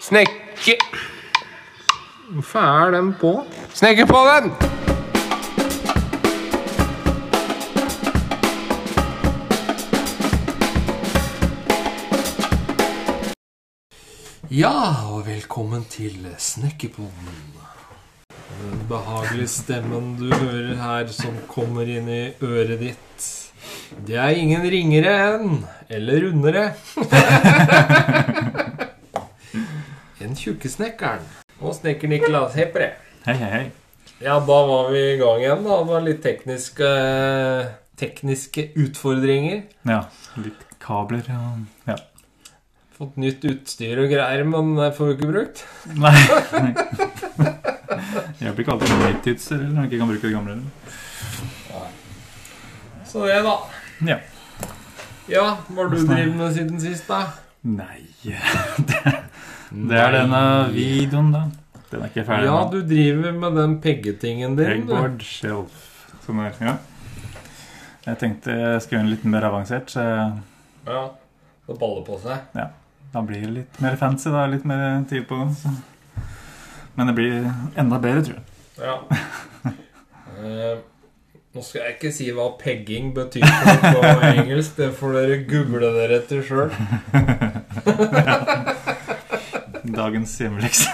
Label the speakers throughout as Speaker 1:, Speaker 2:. Speaker 1: Snekke...
Speaker 2: Hvorfor er den på?
Speaker 1: Snekke på den!
Speaker 2: Ja, og velkommen til Snekkerpodden. Den behagelige stemmen du hører her som kommer inn i øret ditt. Det er ingen ringere enn eller rundere enn tjukkesnekkeren og snekker Niklas Hepre.
Speaker 3: Hei, hei, hei.
Speaker 2: Ja, da var vi i gang igjen. da. Det var litt tekniske, tekniske utfordringer.
Speaker 3: Ja, litt kabler og ja.
Speaker 2: Fått nytt utstyr og greier, men det får vi ikke brukt.
Speaker 3: Nei. nei. Jeg blir ikke alltid nytids eller når jeg ikke kan bruke det gamle.
Speaker 2: Så det, da.
Speaker 3: Ja.
Speaker 2: Ja, hva har du drevet med siden sist, da?
Speaker 3: Nei. Det, det er denne videoen, da. Den er ikke ferdig
Speaker 2: Ja,
Speaker 3: nå.
Speaker 2: du driver med den peggetingen din. du.
Speaker 3: Pegboard shelf. Sånn der, ja. Jeg tenkte jeg skulle gjøre den litt mer avansert, så
Speaker 2: Ja, det baller på seg.
Speaker 3: da blir det litt mer fancy. da, Litt mer tid på det. Så. Men det blir enda bedre, tror jeg.
Speaker 2: Ja. Eh, nå skal jeg ikke si hva pegging betyr på på engelsk. Det får dere google dere etter sjøl.
Speaker 3: Dagens hjemmelekse.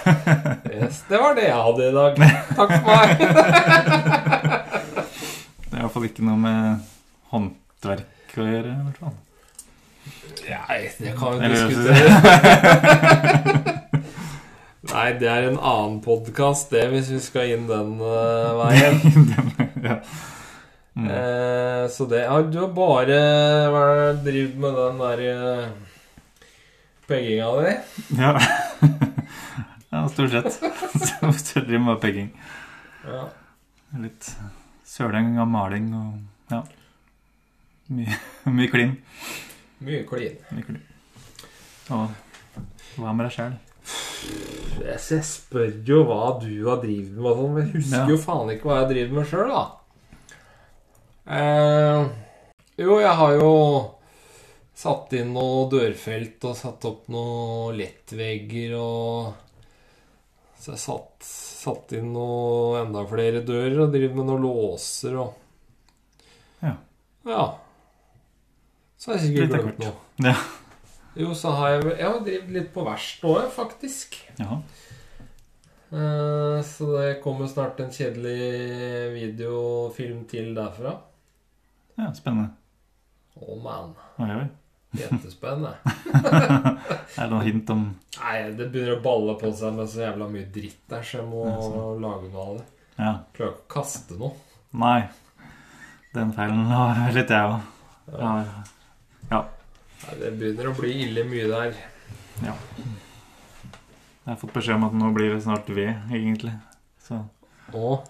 Speaker 2: Yes, det var det jeg hadde i dag. Takk for meg.
Speaker 3: Det er i hvert fall ikke noe med håndverk å gjøre. i hvert fall.
Speaker 2: Nei, det kan vi
Speaker 3: Eller-
Speaker 2: diskutere. Nei, det er en annen podkast, det, hvis vi skal inn den eh, veien.
Speaker 3: ja. Mm.
Speaker 2: Eh, så det ja, Du har bare hva er det, drevet med den der eh, pegginga di?
Speaker 3: ja. ja, stort sett. Så driver med pegging.
Speaker 2: Ja.
Speaker 3: Litt søling og maling og ja. Mye, mye klin.
Speaker 2: Mye klin.
Speaker 3: Mye klin. Og hva med deg sjæl?
Speaker 2: Jeg jeg spør jo hva du har drevet med, og sånn, men jeg husker
Speaker 3: Ja.
Speaker 2: jo faen ikke hva jeg driver med sjøl, da. Eh, jo, jeg har jo satt inn noe dørfelt og satt opp noe lettvegger og Så jeg satt, satt inn noe enda flere dører og driver med noen låser og
Speaker 3: Ja.
Speaker 2: ja. Så har jeg sikkert
Speaker 3: Litt av
Speaker 2: glemt
Speaker 3: hvert.
Speaker 2: noe.
Speaker 3: Ja.
Speaker 2: Jo, så har jeg Jeg har drevet litt på verst òg, faktisk.
Speaker 3: Jaha.
Speaker 2: Eh, Så det kommer snart en kjedelig videofilm til derfra.
Speaker 3: Ja, spennende.
Speaker 2: Oh man,
Speaker 3: Oi, oi.
Speaker 2: Kjempespennende.
Speaker 3: Er det noe hint om
Speaker 2: Nei, det begynner å balle på seg med så jævla mye dritt der, så jeg må
Speaker 3: Ja, sånn.
Speaker 2: lage noe av det.
Speaker 3: Ja.
Speaker 2: Klarer ikke å kaste noe.
Speaker 3: Nei. Den feilen har litt jeg òg. Ja.
Speaker 2: Nei, det begynner å bli ille mye der.
Speaker 3: Jeg har fått beskjed om at nå blir det snart ved, egentlig. Så
Speaker 2: Og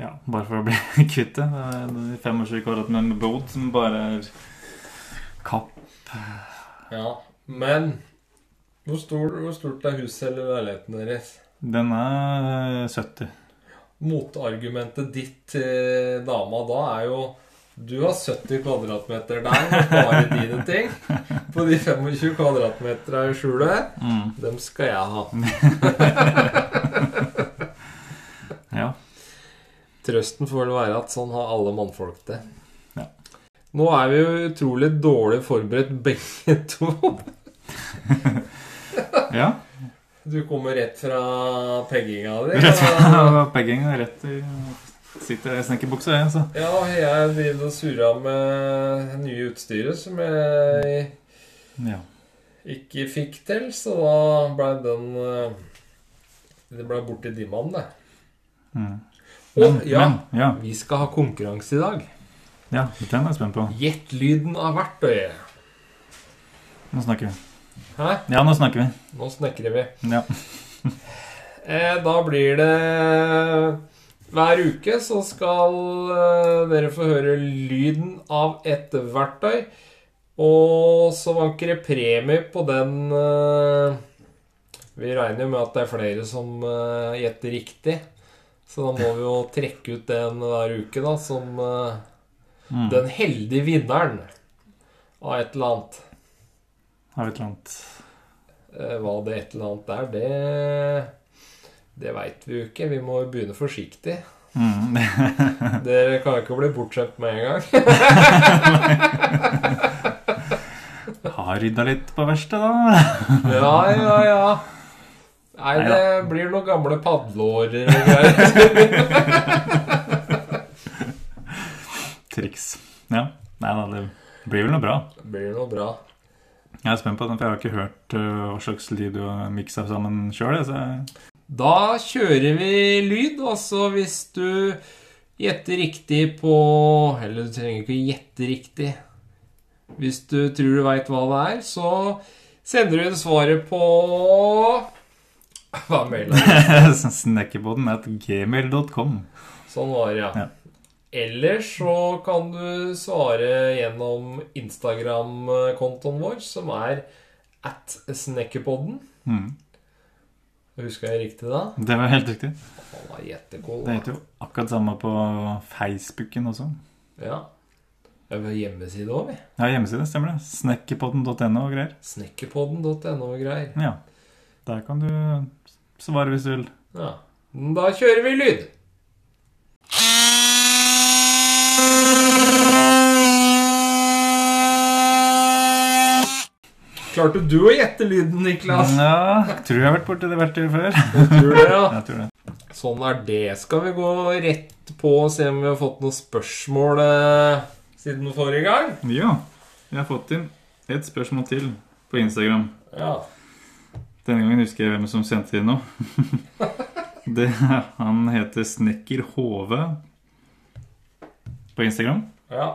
Speaker 3: Ja, bare for å bli kvitt det. Det er de 25 kvadrat med en bod som bare er kapp.
Speaker 2: ja, men hvor, stor, hvor stort er huset eller leiligheten deres?
Speaker 3: Den er 70.
Speaker 2: Motargumentet ditt til dama da er jo du har 70 kvadratmeter der med bare dine ting. På de 25 kvadratmeterne i skjulet,
Speaker 3: Mm.
Speaker 2: dem skal jeg ha.
Speaker 3: Ja.
Speaker 2: Trøsten får vel være at sånn har alle mannfolk det.
Speaker 3: Ja.
Speaker 2: Nå er vi jo utrolig dårlig forberedt begge to.
Speaker 3: ja.
Speaker 2: Du kommer rett fra pegginga di.
Speaker 3: Rett
Speaker 2: og-
Speaker 3: fra pegging og rett i Sitter i snekkerbuksa, jeg, altså. så.
Speaker 2: Ja, jeg driver og surrer med nye utstyret som jeg
Speaker 3: Ja.
Speaker 2: ikke fikk til, så da ble den eh, Det ble borti dimmaen, det.
Speaker 3: Mm.
Speaker 2: Og ja,
Speaker 3: Men, ja.
Speaker 2: vi skal ha konkurranse i dag.
Speaker 3: Ja, den er jeg spent på.
Speaker 2: Gjett lyden av verktøyet.
Speaker 3: Nå snakker vi.
Speaker 2: Hæ?
Speaker 3: Ja, nå snakker vi.
Speaker 2: Nå snekrer vi.
Speaker 3: Ja.
Speaker 2: Eh, da blir det Hver uke så skal eh, dere få høre lyden av et verktøy. Og så vanker det premie på den eh, Vi regner jo med at det er flere som eh, gjetter riktig. Så da må vi jo trekke ut den hver uke, da, som eh,
Speaker 3: Mm.
Speaker 2: den heldige vinneren av et eller annet.
Speaker 3: Har vi et eller annet
Speaker 2: Eh, Hva det et eller annet er, det, det veit vi jo ikke. Vi må jo begynne forsiktig.
Speaker 3: Mm.
Speaker 2: Dere kan jo ikke bli bortskjemt med en gang.
Speaker 3: Har rydda litt på verkstedet, da.
Speaker 2: Ja, ja, ja. Nei, det blir noen gamle padleårer og greier.
Speaker 3: Triks. Ja. Nei da, det blir vel noe bra.
Speaker 2: Det blir noe bra.
Speaker 3: Jeg er spent på den, for jeg har ikke hørt øh, hva slags lyd du har miksa sammen sjøl. Så jeg-
Speaker 2: Da kjører vi lyd, og så hvis du gjetter riktig på Eller du trenger ikke å gjette riktig. Hvis du tror du veit hva det er, så sender du inn svaret på Hva er mailen?
Speaker 3: Snekkerboden at gmail.com.
Speaker 2: Sånn var det, ja.
Speaker 3: Ja.
Speaker 2: Ellers så kan du svare gjennom Instagram-kontoen vår, som er at snekkerpodden.
Speaker 3: Mm.
Speaker 2: Husker jeg riktig da?
Speaker 3: Det var helt riktig.
Speaker 2: Han var gjettekoll.
Speaker 3: Det heter jo akkurat samme på Facebooken også.
Speaker 2: Ja. Vi har hjemmeside òg, vi.
Speaker 3: Ja, hjemmeside, stemmer det. Snekkerpodden.no og greier.
Speaker 2: Snekkerpodden.no og greier.
Speaker 3: Ja. Der kan du svare hvis du vil.
Speaker 2: Ja. Da kjører vi lyd. Klarte du å gjette lyden, Niklas?
Speaker 3: Ja, tror jeg har vært borti det verktøyet før.
Speaker 2: Mm, Jeg tror det, ja.
Speaker 3: Jeg tror det.
Speaker 2: Sånn er det. Skal vi gå rett på og se om vi har fått noen spørsmål eh, siden forrige gang?
Speaker 3: Ja. Jeg har fått inn et spørsmål til på Instagram.
Speaker 2: Ja.
Speaker 3: Denne gangen husker jeg hvem som sendte inn noe. Det, han heter Snekker Hove på Instagram.
Speaker 2: ja.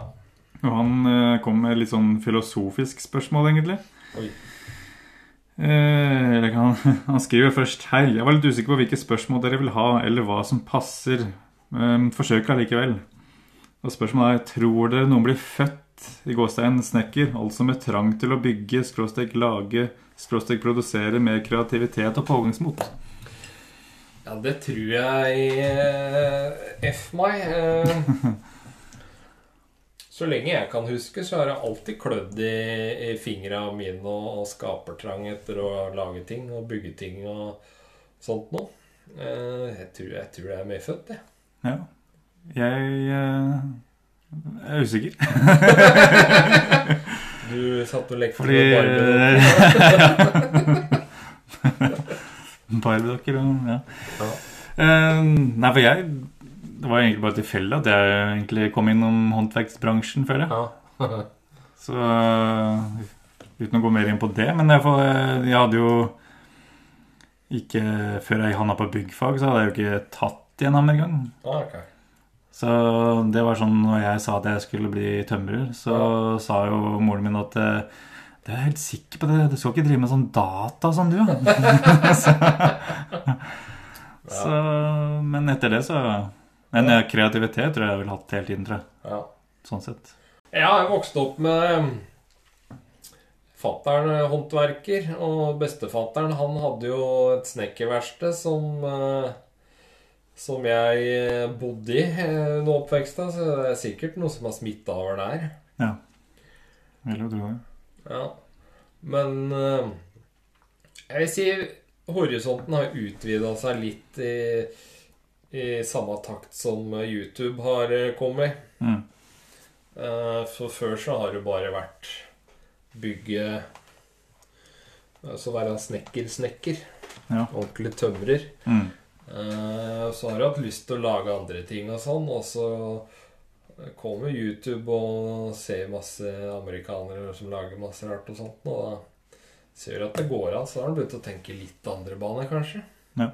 Speaker 3: Og han eh, kom med litt sånn filosofisk spørsmål, egentlig.
Speaker 2: Oi.
Speaker 3: Eh, eller kan, han skriver først Hei, jeg var litt usikker på hvilke spørsmål dere vil ha, eller hva som passer. Um, forsøk allikevel. Og spørsmålet er Tror dere noen blir født i gåstein snekker, altså med trang til å bygge, skråstrek lage, skråstrek produsere med kreativitet og pågangsmot?
Speaker 2: Ja, det tror jeg eh, F meg. eh. Så lenge jeg kan huske, så har jeg alltid klødd i, i fingra mine og, og skapertrang etter å lage ting og bygge ting og sånt noe. Eh, Jeg tror jeg, tror jeg er medfødt, jeg.
Speaker 3: Ja. Jeg eh, er usikker.
Speaker 2: Du satt og lekte
Speaker 3: Fordi
Speaker 2: med Barbie.
Speaker 3: Barbiedokker og ja.
Speaker 2: Ja.
Speaker 3: Eh, nei, for jeg Det var egentlig bare tilfeldig at jeg egentlig kom innom håndverksbransjen, føler jeg.
Speaker 2: Ja.
Speaker 3: Så eh, uten å gå mer inn på det. Men jeg, får, eh, jeg hadde jo ikke Før jeg havna på byggfag, så hadde jeg jo ikke tatt i en hammer engang.
Speaker 2: Ah, ok.
Speaker 3: Så det var sånn når jeg sa at jeg skulle bli tømrer, så sa jo moren min at eh, det er jeg helt sikker på, det. du skal ikke drive med sånn data som du. så, så, men etter det så Men eh, kreativitet tror jeg jeg ville hatt hele tiden, tror jeg.
Speaker 2: ja.
Speaker 3: Sånn sett.
Speaker 2: Jeg har jo vokst opp med Fattern er håndverker, og bestefattern han hadde jo et snekkerverksted som eh, Som jeg eh, bodde i eh, under oppveksten, så det er sikkert noe som har smitta over der.
Speaker 3: Vil jo tro det.
Speaker 2: Ja. Men eh, jeg vil si horisonten har utvida seg litt i, i samme takt som eh, YouTube har eh, kommet.
Speaker 3: Mm.
Speaker 2: Eh, For før så har det jo bare vært bygge Altså være snekker-snekker.
Speaker 3: Ja.
Speaker 2: Ordentlig tømrer.
Speaker 3: Mm.
Speaker 2: Eh, Så har jeg hatt lyst til å lage andre ting og sånn, og så kommer YouTube og ser masse amerikanere som lager masse rart og sånt, og da ser du at det går an. Så da har han begynt å tenke litt andre baner, kanskje.
Speaker 3: Ja,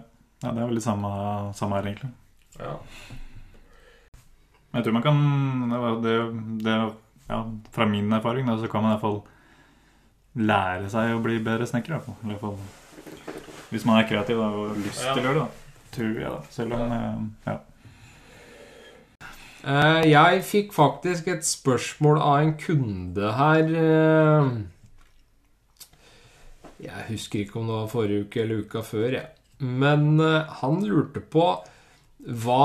Speaker 3: det er vel litt samme, samme her, egentlig.
Speaker 2: Ja.
Speaker 3: Men jeg tror man kan Det, var- det, det ja, Fra min erfaring, da, så kan man i hvert fall lære seg å bli bedre snekker. i hvert fall. Eller i hvert fall hvis man er kreativ da, og har lyst
Speaker 2: Ja.
Speaker 3: til å gjøre det. da. Tror jeg, da. Selv om eh, ja.
Speaker 2: Eh, Jeg fikk faktisk et spørsmål av en kunde her eh, Jeg husker ikke om det var forrige uke eller uka før, jeg. Men eh, han lurte på hva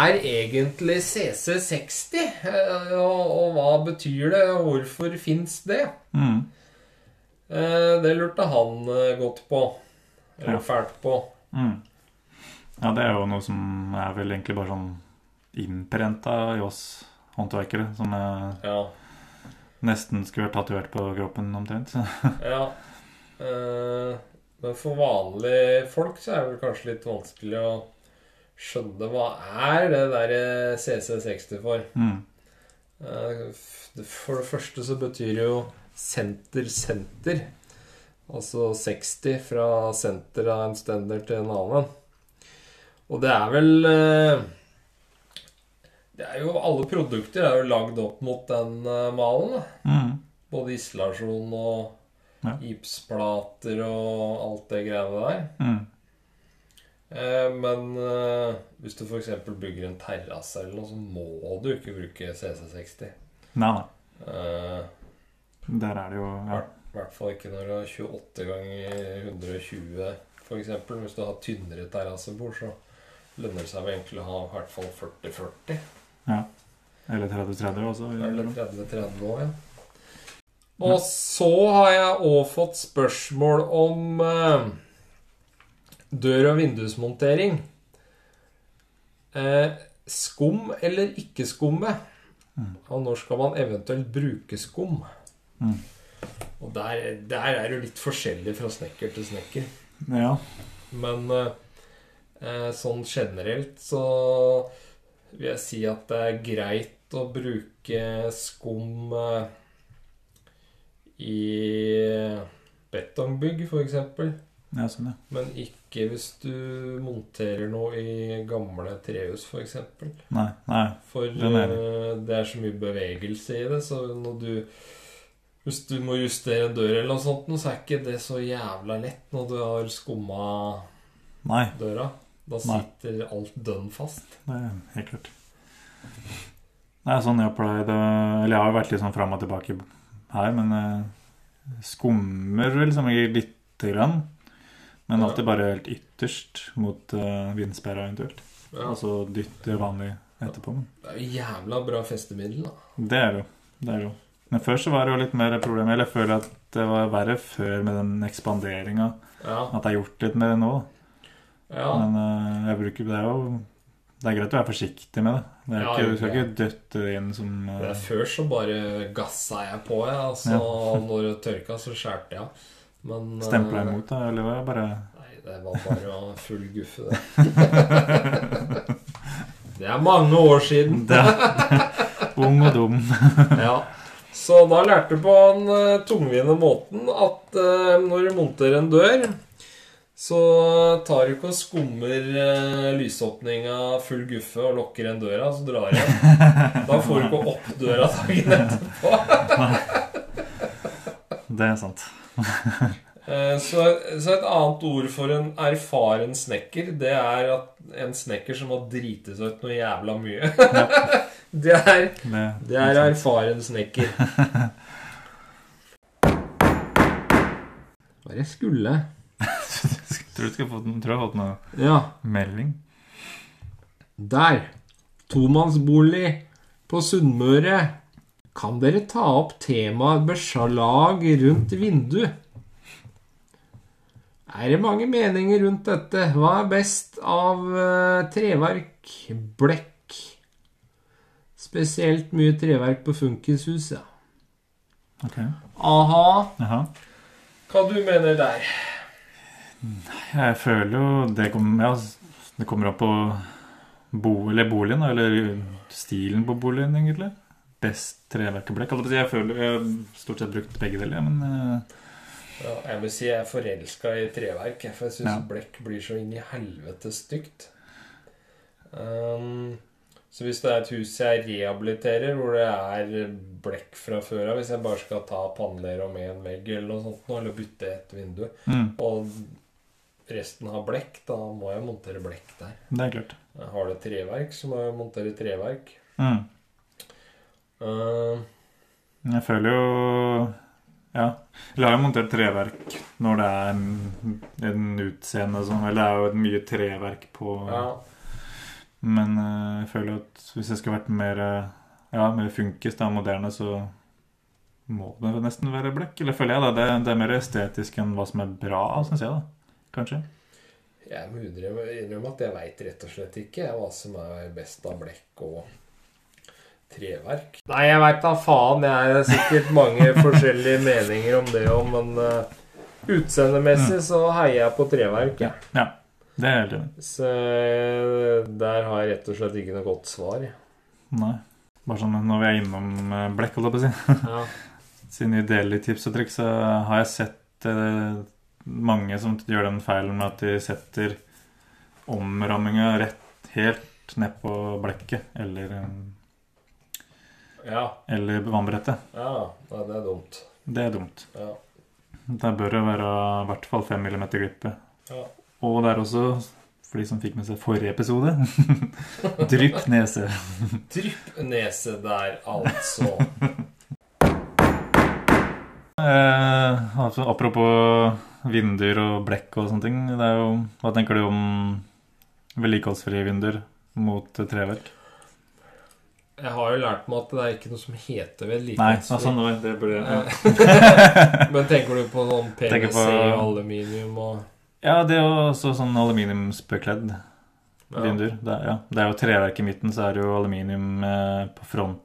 Speaker 2: er egentlig CC60? Eh, Og, og hva betyr det? og Hvorfor fins det?
Speaker 3: Mm.
Speaker 2: Eh, det lurte han eh, godt på. Eller
Speaker 3: Ja.
Speaker 2: fælt på.
Speaker 3: Mm. Ja, det er jo noe som er vel egentlig bare sånn innprenta i oss håndverkere. Som eh,
Speaker 2: Ja.
Speaker 3: nesten skulle vært tatovert på kroppen omtrent. Så.
Speaker 2: ja. Eh, men for vanlige folk så er det vel kanskje litt vanskelig å skjønne hva er det der eh, CC60 for.
Speaker 3: Mm.
Speaker 2: Eh, f- For det første så betyr det jo senter, senter. Altså 60 fra senter av en stender til en annen. Og det er vel eh, Det er jo Alle produkter er jo lagd opp mot den eh, malen. da.
Speaker 3: Mm.
Speaker 2: Både isolasjon og
Speaker 3: Ja.
Speaker 2: gipsplater og alt det greiene der.
Speaker 3: Mm.
Speaker 2: Eh, Men eh, hvis du f.eks. bygger en terrasse eller noe, så må du ikke bruke CC60.
Speaker 3: Nei, nei.
Speaker 2: Eh,
Speaker 3: Der er det jo ja.
Speaker 2: I hvert fall ikke når du har 28 ganger 120, f.eks. Hvis du har tynnere terrassebord, så lønner det seg vel egentlig å ha i hvert fall 40-40.
Speaker 3: Eller 30-30 også.
Speaker 2: Eller 30-30 òg, ja. Og så har jeg òg fått spørsmål om eh, dør- og vindusmontering. Eh, skum eller ikke skumme?
Speaker 3: Mm.
Speaker 2: Og når skal man eventuelt bruke skum?
Speaker 3: Mm.
Speaker 2: Og der, der er det jo litt forskjellig fra snekker til snekker.
Speaker 3: Mm. Ja.
Speaker 2: Men eh, eh, sånn generelt så vil jeg si at det er greit å bruke skum eh, i betongbygg, f.eks.
Speaker 3: ja, sånn, ja.
Speaker 2: Men ikke hvis du monterer noe i gamle trehus, f.eks.
Speaker 3: Nei. nei.
Speaker 2: For
Speaker 3: Den er det.
Speaker 2: eh, det er så mye bevegelse i det, så når du Hvis du må justere en dør eller noe sånt, nå, så er ikke det så jævla lett når du har skumma
Speaker 3: Nei.
Speaker 2: døra. Da
Speaker 3: Nei.
Speaker 2: sitter alt dønn fast.
Speaker 3: Det er helt klart. Det er sånn jeg pleide Eller jeg har jo vært litt sånn fram og tilbake her, men eh, skummer vel som regel lite grann. Men
Speaker 2: Ja.
Speaker 3: alltid bare helt ytterst mot eh, vindsperra eventuelt.
Speaker 2: Ja.
Speaker 3: Og så dytte vanlig etterpå. Men
Speaker 2: Det er jo jævla bra festemiddel, da.
Speaker 3: det er det jo. Det er det jo. Men før så var det jo litt mer problem. Eller jeg føler at det var verre før med den ekspanderinga.
Speaker 2: Ja.
Speaker 3: At det er gjort litt mer nå.
Speaker 2: ja.
Speaker 3: Men eh, jeg bruker det er jo Det er greit å være forsiktig med det. det er
Speaker 2: Ja,
Speaker 3: ikke,
Speaker 2: jo,
Speaker 3: du skal
Speaker 2: ja.
Speaker 3: ikke døtte det inn som eh,
Speaker 2: Det er før så bare gassa jeg på, jeg. Og så når det tørka, så skjærte jeg av. Men eh,
Speaker 3: Stempla imot deg, eller var det bare
Speaker 2: Nei, det var bare å full guffe, det. det er mange år siden.
Speaker 3: det, Ung og dum.
Speaker 2: Ja. Så da lærte du på den eh, tungvinte måten at eh, når du monterer en dør, så tar du ikke og skummer eh, lysåpninga full guffe og lukker igjen døra, så drar du igjen. Da får du ikke opp døra dagen etterpå.
Speaker 3: Det er sant.
Speaker 2: Eh, Så, så et annet ord for en erfaren snekker, det er at en snekker som har driti seg ut noe jævla mye. Det er
Speaker 3: Det,
Speaker 2: Det er erfaren snekker. Hva er det jeg skulle?
Speaker 3: Tror du skal få den, tror jeg har fått noe
Speaker 2: Ja,
Speaker 3: melding.
Speaker 2: der. Tomannsbolig på Sunnmøre. Kan dere ta opp temaet beslag rundt vindu? Er det mange meninger rundt dette? Hva er best av eh, treverk? Blekk? Spesielt mye treverk på funkishus, ja.
Speaker 3: Ok.
Speaker 2: Aha.
Speaker 3: Jaha.
Speaker 2: Hva du mener der?
Speaker 3: Jeg føler jo det kommer Ja, det kommer opp på bo, eller boligen, da, eller stilen på boligen, egentlig. Best treverkeblekk. holdt jeg på å si. Jeg føler jeg har stort sett brukt begge deler, jeg, men eh,
Speaker 2: Ja, jeg vil si jeg er forelska i treverk. jeg, For jeg syns
Speaker 3: Ja.
Speaker 2: blekk blir så inn i helvete stygt. Ehm, så hvis det er et hus jeg rehabiliterer, hvor det er blekk fra før av Hvis jeg bare skal ta pannelere om én vegg eller noe sånt, nå, eller bytte et vindu,
Speaker 3: mm,
Speaker 2: og resten har blekk, da må jeg montere blekk der.
Speaker 3: det er klart.
Speaker 2: Har det treverk, så må jeg montere treverk.
Speaker 3: Mm.
Speaker 2: Ehm,
Speaker 3: Jeg føler jo Ja. Eller jeg har jo montert treverk når det er en, en utseende som Eller det er jo et mye treverk på
Speaker 2: ja.
Speaker 3: Men eh, jeg føler at hvis jeg skulle vært mer eh, Ja, mer funkis, da, moderne, så må det vel nesten være blekk? Eller føler jeg da, det, det er mer estetisk enn hva som er bra, syns jeg da. Kanskje.
Speaker 2: Jeg må innrømme innrømme at jeg veit rett og slett ikke hva som er best av blekk og treverk. Nei, jeg veit da faen. Det er sikkert mange forskjellige meninger om det òg, men eh, utseendemessig så heier jeg på treverk. jeg.
Speaker 3: Ja, det er jeg helt enig i.
Speaker 2: Så eh, der har jeg rett og slett ikke noe godt svar. jeg.
Speaker 3: Nei. Bare sånn når vi er innom eh, blekk, holdt jeg på å si.
Speaker 2: Ja.
Speaker 3: Siden vi deler tips og triks, så har jeg sett eh, mange som gjør den feilen med at de setter omramminga rett helt ned på blekket eller, eh,
Speaker 2: Ja,
Speaker 3: eller vannbrettet.
Speaker 2: ja. Nei, det er dumt.
Speaker 3: Det er dumt.
Speaker 2: Ja.
Speaker 3: Der bør det være i hvert fall 5 mm glippe.
Speaker 2: Ja.
Speaker 3: Og det er også, for de som fikk med seg forrige episode, drypp nese.
Speaker 2: Drypp nese der, altså.
Speaker 3: Eh, altså, apropos vinduer og blekk og sånne ting. Det er jo, hva tenker du om vedlikeholdsfrie vinduer mot eh, treverk?
Speaker 2: Jeg har jo lært meg at det er ikke noe som heter
Speaker 3: Nei,
Speaker 2: vedlikeholdsfri.
Speaker 3: altså, det, var- det burde ja.
Speaker 2: Eh, Men tenker du på sånn
Speaker 3: Tenker
Speaker 2: PVC
Speaker 3: på-
Speaker 2: og aluminium og
Speaker 3: ja, det er jo også sånn aluminiumsbekledd vinduer. Det, er- ja. det er jo treverk i midten, så er det jo aluminium eh, på fronten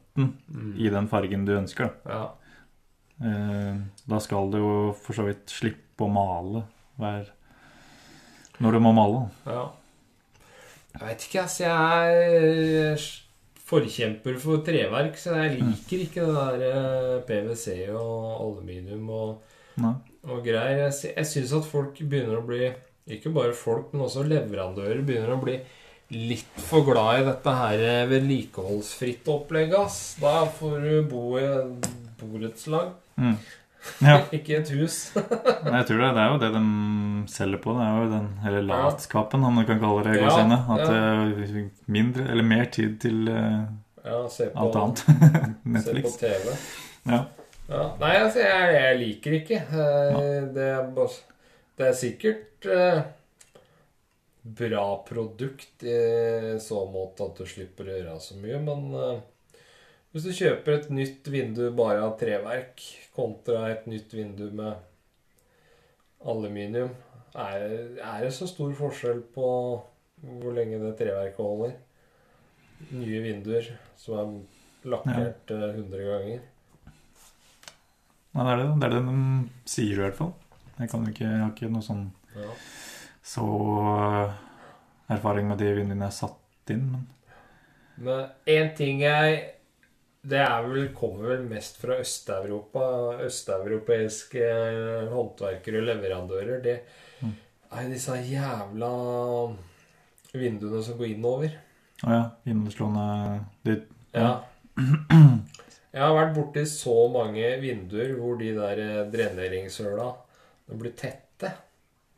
Speaker 2: Mm.
Speaker 3: i den fargen du ønsker. da.
Speaker 2: Ja.
Speaker 3: Eh, da skal du jo for så vidt slippe å male hver Når du må male.
Speaker 2: ja. Jeg veit ikke, altså. Jeg er forkjemper for treverk, så jeg
Speaker 3: Mm.
Speaker 2: liker ikke det der eh, PVC og aluminium og
Speaker 3: Nei.
Speaker 2: og greier. Jeg, sy- jeg syns at folk begynner å bli Ikke bare folk, men også leverandører begynner å bli litt for glad i dette her eh, vedlikeholdsfritt opplegget, ass. Da får du bo i et borettslag,
Speaker 3: Mm. Ja,
Speaker 2: ikke et hus.
Speaker 3: men jeg tror det, det er jo det de selger på. Det er jo den hele latskapen, om du kan kalle det i
Speaker 2: Ja,
Speaker 3: gåseøyne. At
Speaker 2: ja.
Speaker 3: det er mindre eller mer tid til eh,
Speaker 2: Ja, se på,
Speaker 3: alt annet.
Speaker 2: se på
Speaker 3: Netflix.
Speaker 2: TV.
Speaker 3: Ja.
Speaker 2: Ja. Nei, altså, jeg, jeg liker ikke. Eh, Det er, bare, det er sikkert eh, bra produkt i så måte at du slipper å gjøre så mye, men eh, hvis du kjøper et nytt vindu bare av treverk kontra et nytt vindu med aluminium, er, er det så stor forskjell på hvor lenge det treverket holder? Nye vinduer som er lakkert eh, 100 ganger.
Speaker 3: Nei, det er det. Det er det de sier i hvert fall. Jeg kan jo ikke, jeg har ikke noe sånn
Speaker 2: Ja.
Speaker 3: så eh, erfaring med de vinduene jeg har satt inn, men
Speaker 2: Men en ting jeg Det er vel, kommer vel mest fra Øst-Europa. Østeuropeiske eh, håndverkere og leverandører. Det er jo disse jævla vinduene som går innover.
Speaker 3: Å ja. Innslående de-
Speaker 2: Ja. Jeg har vært borti så mange vinduer hvor de der eh, dreneringshøla de blir tette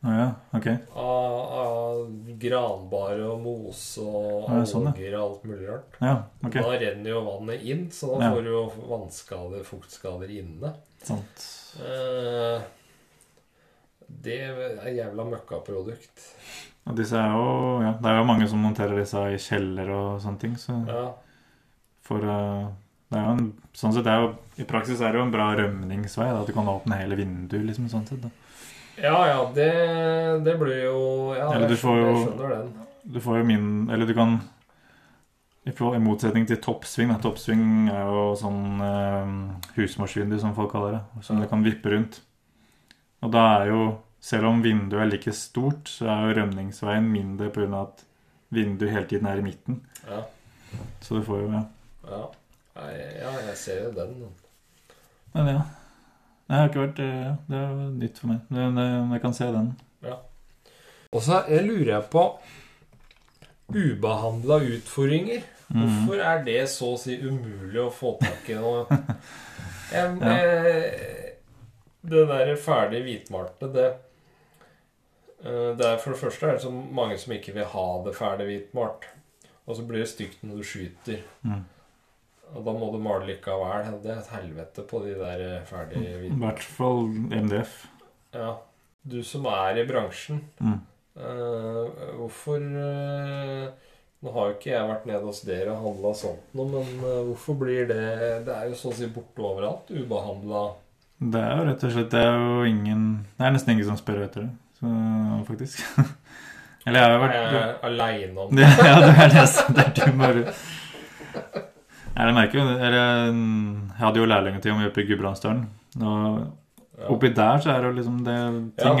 Speaker 3: Å ja, ok.
Speaker 2: av, av granbare og mose og
Speaker 3: Ja, sånn, ja.
Speaker 2: alger og alt mulig rart.
Speaker 3: Ja, ok.
Speaker 2: Da renner jo vannet inn, så da
Speaker 3: Ja.
Speaker 2: får du jo vannskader, fuktskader inne.
Speaker 3: Sant.
Speaker 2: Eh, Det er jævla møkkaprodukt.
Speaker 3: Og disse er jo, ja, det er jo mange som monterer disse i kjeller og sånne ting, så
Speaker 2: Ja,
Speaker 3: for eh, det er jo en, sånn sett, det er jo, i praksis er det jo en bra rømningsvei, da, at du kan åpne hele vinduet, liksom, sånn sett. Da.
Speaker 2: ja, ja det, det blir jo Ja,
Speaker 3: Eller du
Speaker 2: jeg
Speaker 3: får
Speaker 2: skjønner, jeg
Speaker 3: jo-
Speaker 2: skjønner den.
Speaker 3: Du får jo min, eller du kan, i forhold- i motsetning til toppsving, da, toppsving er jo sånn eh, husmorsvindu, som folk kaller det, som du kan vippe rundt. Og da er jo, selv om vinduet er like stort, så er jo rømningsveien mindre på grunn av at vinduet hele tiden er i midten.
Speaker 2: Ja,
Speaker 3: Så du får jo, ja.
Speaker 2: ja. Nei, ja, jeg ser jo den.
Speaker 3: Men ja. Jeg har ikke vært eh, Det er jo nytt for meg. Men eh, jeg kan se den.
Speaker 2: Og så jeg lurer jeg på Ubehandla utfordringer.
Speaker 3: Mhm.
Speaker 2: Mm. Hvorfor er det så å si umulig å få tak i nå? Jeg,
Speaker 3: Ja.
Speaker 2: eh, det der ferdige hvitmalte, det eh, Det er for det første er det så mange som ikke vil ha det ferdig hvitmalt. Og så blir det stygt når du skyter.
Speaker 3: Mm.
Speaker 2: Og da må du male likevel. Det er et helvete på de der eh, ferdige
Speaker 3: I
Speaker 2: hvitmalte.
Speaker 3: hvert fall MDF.
Speaker 2: Ja. Du som er i bransjen,
Speaker 3: Mm.
Speaker 2: Eh, hvorfor eh, Nå har jo ikke jeg vært nede hos dere og handla sånt noe, men eh, hvorfor blir det Det er jo så å si borte overalt. Ubehandla.
Speaker 3: Det er jo rett og slett Det er jo ingen Det er nesten ingen som spør etter det, så, faktisk. Eller jeg har jo
Speaker 2: Jeg
Speaker 3: vært
Speaker 2: er aleine Eh, om det.
Speaker 3: det, Ja, det er nesten der du bare Nei, det merker jo eller, Jeg hadde jo lærlingetid om vi oppe i Gudbrandsdølen. Og
Speaker 2: Ja.
Speaker 3: oppi der så er det jo liksom det, Ting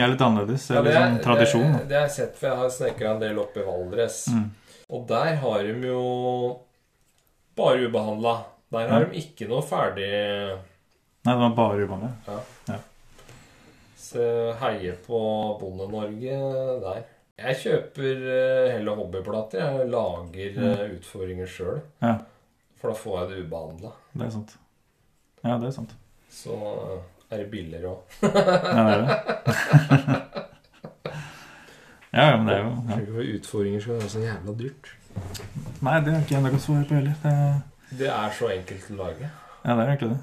Speaker 2: Ja.
Speaker 3: er litt annerledes. Det
Speaker 2: Ja,
Speaker 3: er liksom tradisjon.
Speaker 2: Det, det har jeg sett, for jeg har snekra en del opp i Valdres.
Speaker 3: da. Mm.
Speaker 2: Og der har de jo bare ubehandla. Der har
Speaker 3: Ja.
Speaker 2: de ikke noe ferdig
Speaker 3: Nei, det var bare uvanlig.
Speaker 2: Så heie på Bonde-Norge der. Jeg kjøper eh, heller hobbyplater. Jeg lager
Speaker 3: Mm.
Speaker 2: eh, utfordringer sjøl.
Speaker 3: Ja.
Speaker 2: For da får jeg det ubehandla.
Speaker 3: Det er sant. Ja, det er sant.
Speaker 2: Så eh, er det billigere òg.
Speaker 3: Ja, det er det. ja, ja, men det er jo ja.
Speaker 2: Utfordringer skal være så jævla dyrt.
Speaker 3: Nei, det har ikke jeg noe svar på heller. Det er,
Speaker 2: Det er så enkelt å lage.
Speaker 3: ja, det er egentlig det.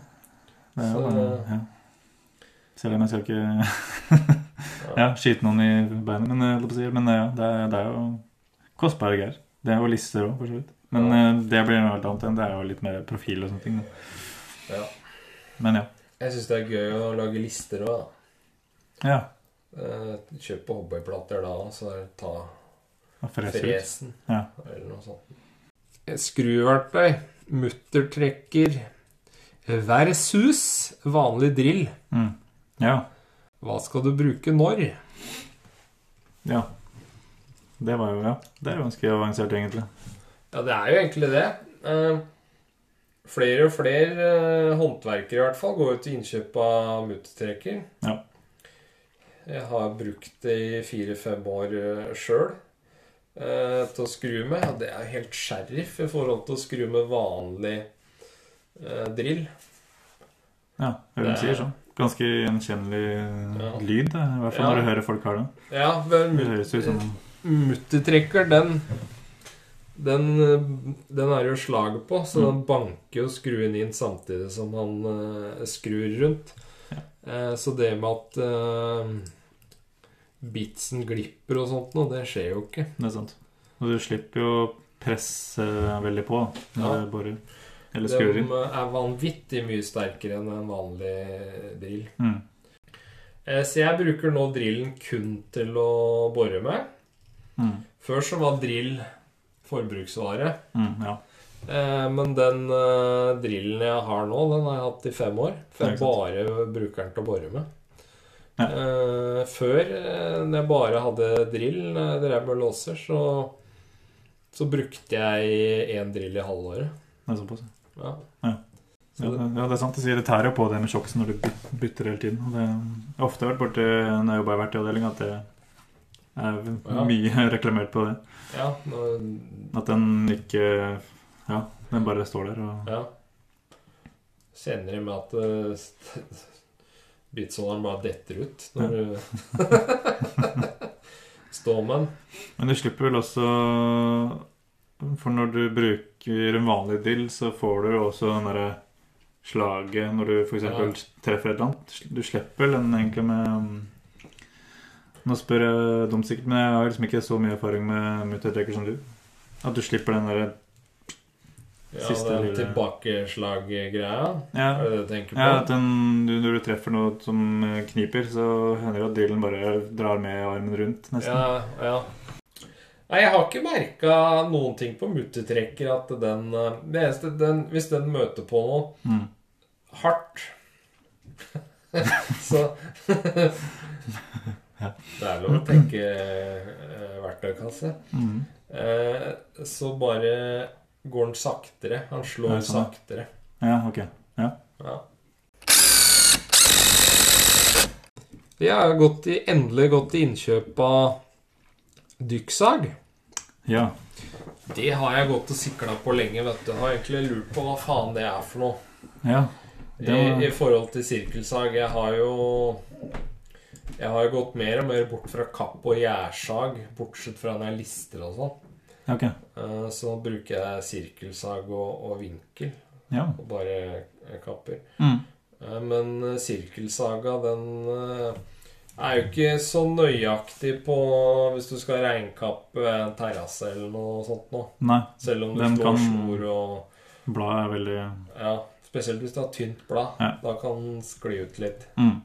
Speaker 3: det er jo,
Speaker 2: Så-
Speaker 3: bare- ja. Selv om jeg skal ikke ja, skyte noen i beinet, men, eh, holdt på å si, men eh, ja, det er, det er jo kostbare greier. Det er jo lister òg, for så vidt. Men eh, det blir noe helt annet enn det er jo litt mer profil og sånne ting. da.
Speaker 2: Ja.
Speaker 3: Men ja.
Speaker 2: Jeg syns det er gøy å lage lister òg, da.
Speaker 3: ja.
Speaker 2: Eh, Kjøp på hobbyplater da, og så ta
Speaker 3: Frese ut.
Speaker 2: fresen.
Speaker 3: Ja.
Speaker 2: Eller noe sånt.
Speaker 1: Skruverktøy, muttertrekker, versus vanlig drill.
Speaker 3: Mm. Ja.
Speaker 1: Hva skal du bruke når?
Speaker 3: Ja. Det var jo, ja. Det er jo ganske avansert, egentlig.
Speaker 2: Ja, det er jo egentlig det. Eh, Flere og flere eh, håndverkere i hvert fall går jo til innkjøp av muttertrekker.
Speaker 3: Ja.
Speaker 2: Jeg har brukt det i fire-fem år sjøl til å skru med. Ja, det er jo helt sheriff i forhold til å skru med vanlig eh, drill.
Speaker 3: Ja, hun
Speaker 2: Det er-
Speaker 3: sier sånn. Ganske gjenkjennelig eh,
Speaker 2: Ja.
Speaker 3: lyd, da, i hvert fall
Speaker 2: Ja.
Speaker 3: når du hører folk har det.
Speaker 2: Ja, men
Speaker 3: Det høres ut som
Speaker 2: Muttertrekker, den den, eh, den er jo slag på, så
Speaker 3: Mm.
Speaker 2: den banker jo skruen inn samtidig som han eh, skrur rundt. Eh, så det med at eh, bitsen glipper og sånt noe, det skjer jo ikke.
Speaker 3: Det er sant. Og du slipper jo å presse veldig på da, når
Speaker 2: Ja.
Speaker 3: du borer. Eller
Speaker 2: De
Speaker 3: skrur inn.
Speaker 2: eh, er vanvittig mye sterkere enn en vanlig drill.
Speaker 3: Mm.
Speaker 2: Eh, så jeg bruker nå drillen kun til å bore med.
Speaker 3: Mm.
Speaker 2: Før så var drill forbruksvare.
Speaker 3: Mm. Ja.
Speaker 2: Eh, Men den eh, drillen jeg har nå, den har jeg hatt i fem år. For
Speaker 3: Ja,
Speaker 2: jeg
Speaker 3: ikke
Speaker 2: bare bruker den til å bore med.
Speaker 3: Ja.
Speaker 2: Eh, Før, eh, når jeg bare hadde drill, når jeg drev med låser, så, så brukte jeg én drill i halvåret.
Speaker 3: Det er såpass.
Speaker 2: Ja.
Speaker 3: Ja.
Speaker 2: Så
Speaker 3: Ja, det,
Speaker 2: det,
Speaker 3: ja, det er sant. Det sier det tærer jo på det med sjoksen når du byt- bytter hele tiden. Og det jeg har ofte vært borte når jeg jobber i verktøyavdelinga, at det
Speaker 2: Ja.
Speaker 3: er mye reklamert på det.
Speaker 2: ja, nå,
Speaker 3: At den ikke Ja, den bare står der og
Speaker 2: ja. Kjenner jeg med at eh, st- bitsånderen bare detter ut når du står med den.
Speaker 3: Men du slipper vel også For når du bruker en vanlig drill, så får du jo også den derre slaget når du f.eks.
Speaker 2: Ja.
Speaker 3: treffer et eller annet. Du slipper vel den egentlig med mm, Nå spør jeg dumt sikkert, men jeg har liksom ikke så mye erfaring med muttertrekker som du. At du slipper den derre
Speaker 2: Ja,
Speaker 3: Siste
Speaker 2: den
Speaker 3: lille-
Speaker 2: tilbakeslag-greia.
Speaker 3: ja,
Speaker 2: Er det det du tenker på?
Speaker 3: ja, at den, du, når du treffer noe som kniper, så hender det at drillen bare drar med armen rundt, nesten.
Speaker 2: Ja, ja. Nei, jeg har ikke merka noen ting på muttertrekker at den eh, Det eneste den, Hvis den møter på noe
Speaker 3: Mm.
Speaker 2: hardt Så Det er lov å tenke eh, verktøykasse.
Speaker 3: Mm.
Speaker 2: Eh, så bare går den saktere. Han slår
Speaker 3: Ja, sånn,
Speaker 2: saktere.
Speaker 3: Ja, ok.
Speaker 2: Ja.
Speaker 1: Jeg har gått i, endelig gått til innkjøp av dykksag.
Speaker 3: Ja.
Speaker 2: Det har jeg gått og sikla på lenge, vet du. Har egentlig lurt på hva faen det er for noe.
Speaker 3: Ja. Det var-
Speaker 2: I, I forhold til sirkelsag. Jeg har jo Jeg har jo gått mer og mer bort fra kapp og gjærsag, bortsett fra når jeg lister og sånn.
Speaker 3: Ok.
Speaker 2: Eh, Så nå bruker jeg sirkelsag og, og vinkel,
Speaker 3: Ja.
Speaker 2: og bare eh, kapper.
Speaker 3: Mm.
Speaker 2: Eh, Men eh, sirkelsaga, den eh, er jo ikke så nøyaktig på hvis du skal regnkappe en terrasse eller noe sånt nå.
Speaker 3: Nei,
Speaker 2: Selv om du
Speaker 3: Den
Speaker 2: slår
Speaker 3: kan-
Speaker 2: snor og
Speaker 3: bladet er veldig
Speaker 2: Ja, spesielt hvis du har tynt blad.
Speaker 3: Ja.
Speaker 2: Da kan den skli ut litt.
Speaker 3: mm.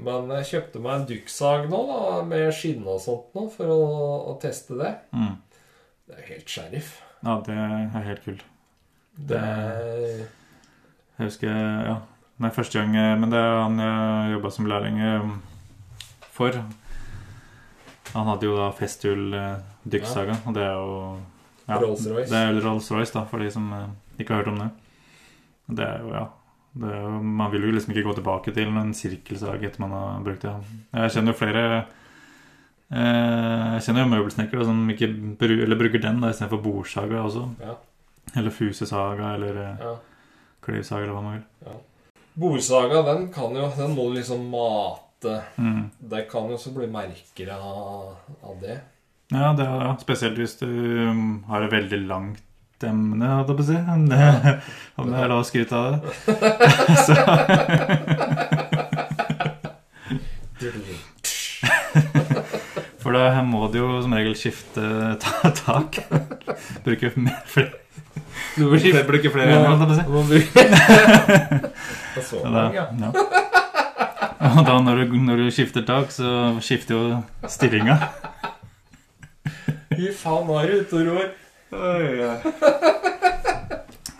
Speaker 2: Men jeg kjøpte meg en dukksag nå, da, med skinne og sånt nå, for å, å teste det.
Speaker 3: Mm.
Speaker 2: Det er jo helt sheriff.
Speaker 3: Ja, det er helt kult.
Speaker 2: Det er
Speaker 3: Jeg husker ja, Nei, første gang eh, Men det er han jeg jobba som lærling eh, for. Han hadde jo da festull-dykksaga, og det er jo ja,
Speaker 2: Rolls-Royce.
Speaker 3: Det er Rolls-Royce, da, for de som eh, ikke har hørt om det. Det er jo, ja det er jo, Man vil jo liksom ikke gå tilbake til en sirkelsag etter man har brukt det. Jeg kjenner jo flere eh, Jeg kjenner jo møbelsnekkere som ikke bru, eller bruker den da, istedenfor bordsaga også.
Speaker 2: Ja.
Speaker 3: Eller fusesaga, eller eh,
Speaker 2: ja.
Speaker 3: klivsaga, eller hva man vil.
Speaker 2: Bordsaga, den kan jo Den må du liksom mate.
Speaker 3: Mm.
Speaker 2: Det kan jo også bli merker av, av det.
Speaker 3: Ja, det er, ja, spesielt hvis du um, har et veldig langt emne, holdt jeg på å si. Om det, om det er lov å skryte av det. Så, for da her må du jo som regel skifte ta, tak. Bruke mer- flere
Speaker 2: Du
Speaker 3: Bruke flere emner, holdt jeg på å si.
Speaker 2: Det er så
Speaker 3: Ja,
Speaker 2: lang,
Speaker 3: da,
Speaker 2: ja.
Speaker 3: ja. Og da når du, når du skifter tak, så skifter jo stillinga.
Speaker 2: Fy faen, nå er du ute og ror.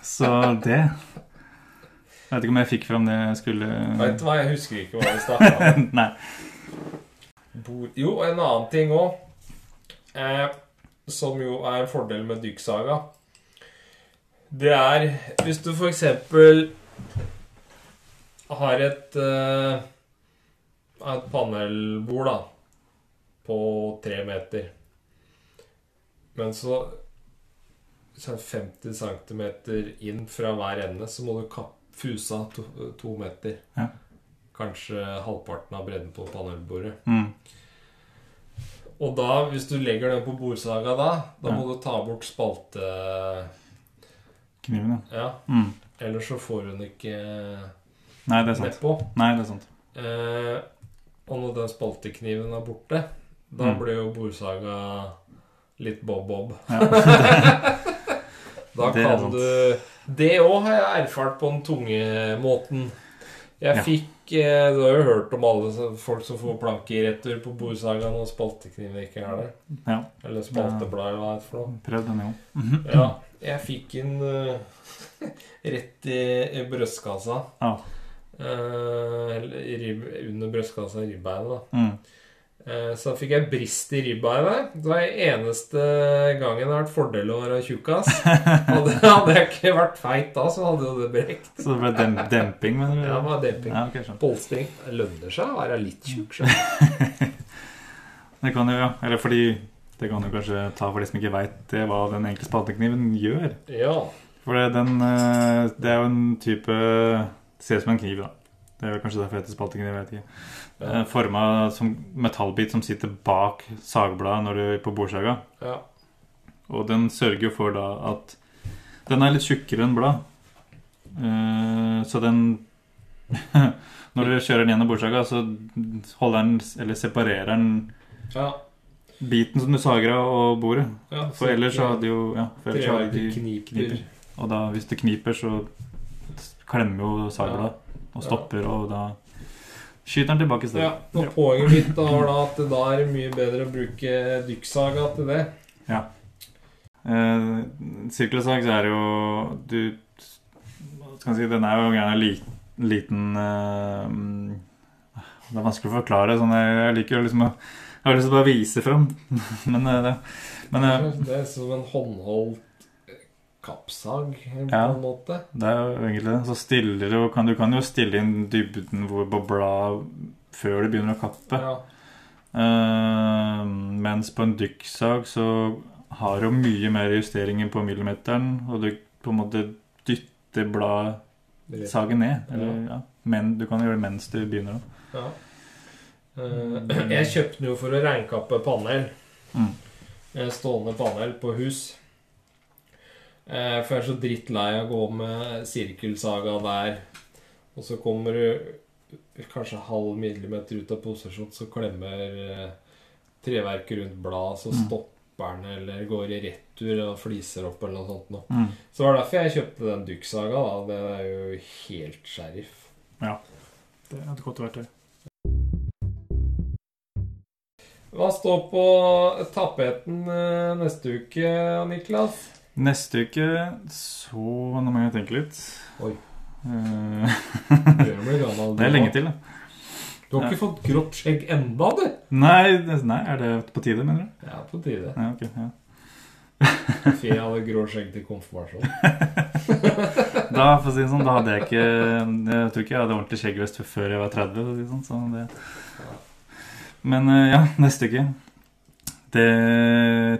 Speaker 3: Så det Jeg vet ikke om jeg fikk fram det jeg skulle
Speaker 2: Vet du hva, jeg husker ikke hva vi snakka om.
Speaker 3: Nei.
Speaker 2: Bord- Jo, en annen ting òg, eh, som jo er en fordel med dykksaga, det er hvis du for eksempel har et eh, et panelbord, da, på tre meter, men så så er det 50 cm inn fra hver ende, så må du kapp fuse av to, to meter.
Speaker 3: Ja.
Speaker 2: Kanskje halvparten av bredden på panelbordet.
Speaker 3: Mm.
Speaker 2: Og da, hvis du legger den på bordsaga da, da
Speaker 3: Ja.
Speaker 2: må du ta bort spalte...
Speaker 3: Kniven, ja.
Speaker 2: Ja,
Speaker 3: Mm.
Speaker 2: ellers så får hun ikke
Speaker 3: Nei, det er sant.
Speaker 2: nedpå.
Speaker 3: Nei, det er sant.
Speaker 2: Eh, og når den spaltekniven er borte, da
Speaker 3: Mm.
Speaker 2: blir jo bordsaga litt bob-bob.
Speaker 3: Ja.
Speaker 2: Da
Speaker 3: Det er
Speaker 2: kan
Speaker 3: sant.
Speaker 2: du Det òg har jeg erfart på den tunge måten. Jeg
Speaker 3: Ja.
Speaker 2: fikk eh, Du har jo hørt om alle så- folk som får planke i retur på bordsagaen og spaltekniver ikke har det.
Speaker 3: ja.
Speaker 2: Eller spalteblad, eller hva det er for noe.
Speaker 3: Prøv den, jo. Mhm.
Speaker 2: Ja, jeg fikk en eh, rett i, i brystkassa.
Speaker 3: Ja.
Speaker 2: Eh, eller i ribb, under brystkassa i ribbeinet, da.
Speaker 3: Mm.
Speaker 2: Eh, Så da fikk jeg brist i ribbeinet. Det var eneste gangen det har vært fordel å være tjukkas. Hadde, hadde jeg ikke vært feit da, så hadde jo det brekt.
Speaker 3: Så det ble dem demping, mener du?
Speaker 2: Ja, det var demping.
Speaker 3: Mm. Ja, ok, skjønt.
Speaker 2: Polstring. Det lønner seg å være litt tjukk. skjønner du.
Speaker 3: Det kan jo, ja. Eller fordi Det kan du kanskje ta for de som ikke veit hva den enkle spaltekniven gjør.
Speaker 2: Ja.
Speaker 3: For det, den, eh, det er jo en type Det ser ut som en kniv, da. Det er vel kanskje derfor det heter spaltekniv. jeg vet ikke.
Speaker 2: Ja.
Speaker 3: Forma som metallbit som sitter bak sagbladet når du på bordsaga.
Speaker 2: ja.
Speaker 3: Og den sørger jo for da at Den er litt tjukkere enn blad. Eh, så den Når du kjører den gjennom bordsaga, så holder den Eller separerer den
Speaker 2: ja.
Speaker 3: biten som du sager av, og bordet.
Speaker 2: ja.
Speaker 3: For ellers så hadde jo Ja, for ellers så hadde
Speaker 2: Treverket
Speaker 3: de
Speaker 2: kniper.
Speaker 3: kniper. Og da, hvis det kniper, så klemmer jo sagbladet og stopper, og da skyter den tilbake i
Speaker 2: Ja,
Speaker 3: stedet.
Speaker 2: og Poenget mitt da var da at det da er det mye bedre å bruke dykksaga til det.
Speaker 3: Eh, sirkelsag så er det jo Du hva skal jeg si, Den er jo gjerne li, liten eh, mm, Det er vanskelig å forklare. Sånn, jeg, jeg liker jo liksom å Jeg har lyst til å bare vise fram, men eh, det men eh,
Speaker 2: Det er som en håndholdt kappsag, på
Speaker 3: Ja.
Speaker 2: en måte.
Speaker 3: det er jo egentlig det. Så stiller jo, kan, du kan jo stille inn dybden hvor på bladet før du begynner å kappe.
Speaker 2: Ja.
Speaker 3: Eh, mens på en dykksag så har du mye mer justeringer på millimeteren, og du på en måte dytter bladet Sage ned. Eller, ja. Men du kan gjøre det mens du begynner. Da.
Speaker 2: Ja. Eh, Jeg kjøpte den jo for å regnkappe panel.
Speaker 3: Mm.
Speaker 2: Eh, Stående panel på hus. Eh, For jeg er så drittlei av å gå med sirkelsaga der. Og så kommer du kanskje halv millimeter ut av posisjon, så klemmer eh, treverket rundt bladet, så
Speaker 3: Mm.
Speaker 2: stopper den, eller går i retur og fliser opp, eller noe sånt noe.
Speaker 3: Mm.
Speaker 2: Så var det derfor jeg kjøpte den Duxaga, da. Den er jo helt sheriff.
Speaker 3: Det er et godt verktøy.
Speaker 2: Hva står på tapeten eh, neste uke, Niklas?
Speaker 3: Neste uke så Nå må jeg tenke litt.
Speaker 2: Oi.
Speaker 3: Eh,
Speaker 2: Bjørn blir gammel.
Speaker 3: det er lenge til, da.
Speaker 2: Du har ikke fått grått skjegg enda, du!
Speaker 3: Nei, det- nei, er det på tide, mener du?
Speaker 2: Ja, på tide.
Speaker 3: Ja, ok, ja.
Speaker 2: Fie hadde grå skjegg til konfirmasjon.
Speaker 3: Da, for å si det sånn, da hadde jeg ikke Jeg tror ikke jeg hadde ordentlig skjeggvest før jeg var 30. For å si det sånn, så det. Men eh, ja, neste uke. Det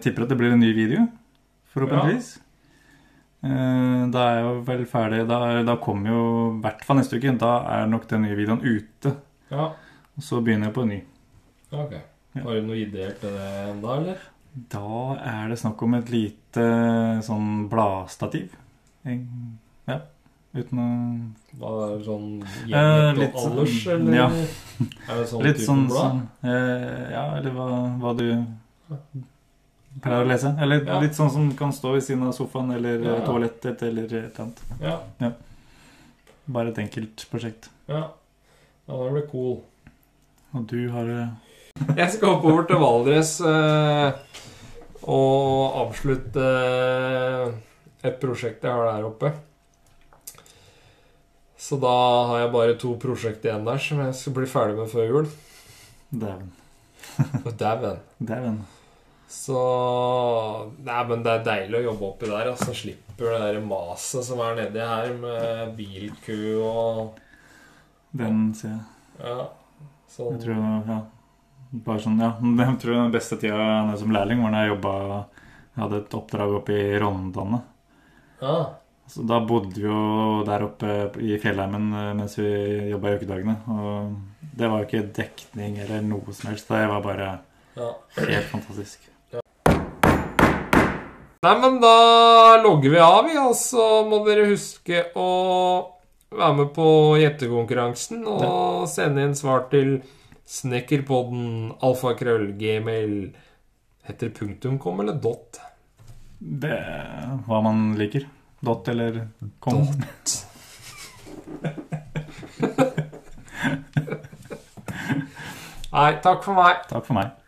Speaker 3: tipper at det blir en ny video, forhåpentligvis. Eh, Da er jeg jo vel ferdig Da, da kommer jo i hvert fall neste uke. Da er nok den nye videoen ute.
Speaker 2: Ja,
Speaker 3: Og så begynner jeg på en ny.
Speaker 2: ok.
Speaker 3: Ja.
Speaker 2: Har du noe ideer til det enda, eller?
Speaker 3: Da er det snakk om et lite sånn bladstativ. En- Ja. Uten å
Speaker 2: Hva er det sånn
Speaker 3: Eh,
Speaker 2: gjengitt
Speaker 3: litt
Speaker 2: og
Speaker 3: sånn-
Speaker 2: alders, eller?
Speaker 3: ja.
Speaker 2: Er det sånn
Speaker 3: Litt
Speaker 2: type
Speaker 3: sånn,
Speaker 2: blad?
Speaker 3: sånn eh, Ja, eller hva, hva du pleier å lese. Eller
Speaker 2: Ja.
Speaker 3: litt sånn som kan stå ved siden av sofaen eller
Speaker 2: Ja,
Speaker 3: eh,
Speaker 2: ja.
Speaker 3: toalettet eller et eller annet.
Speaker 2: Ja,
Speaker 3: Bare et enkelt prosjekt.
Speaker 2: ja. Ja, det blir cool.
Speaker 3: Og du har eh,
Speaker 2: Jeg skal oppover til Valdres eh, og avslutte eh, et prosjekt jeg har der oppe. Så da har jeg bare to prosjekt igjen der som jeg skal bli ferdig med før jul.
Speaker 3: Dæven.
Speaker 2: Og Dæven.
Speaker 3: Dæven.
Speaker 2: Så Nei, men det er deilig å jobbe oppi der. Altså, slipper det der maset som er nedi her, med bilkø og
Speaker 3: Den ser jeg.
Speaker 2: Ja. Sånn.
Speaker 3: Jeg tror Ja. Bare sånn, ja. Jeg tror den beste tida nå som lærling var da jeg jobba Jeg hadde et oppdrag oppe i Rondane.
Speaker 2: Ja.
Speaker 3: Så da bodde vi jo der oppe i fjellheimen eh, mens vi jobba i økedagene. Og det var jo ikke dekning eller noe som helst. Det var bare
Speaker 2: ja.
Speaker 3: helt fantastisk.
Speaker 2: Nei, men da logger vi av, vi, og så må dere huske å være med på gjettekonkurransen og sende inn svar til snekkerpodden alfakrøllgmail Heter det punktumkom eller dot?
Speaker 3: Det er hva man liker. Dot eller kom.
Speaker 2: Nei, takk for meg.
Speaker 3: Takk for meg.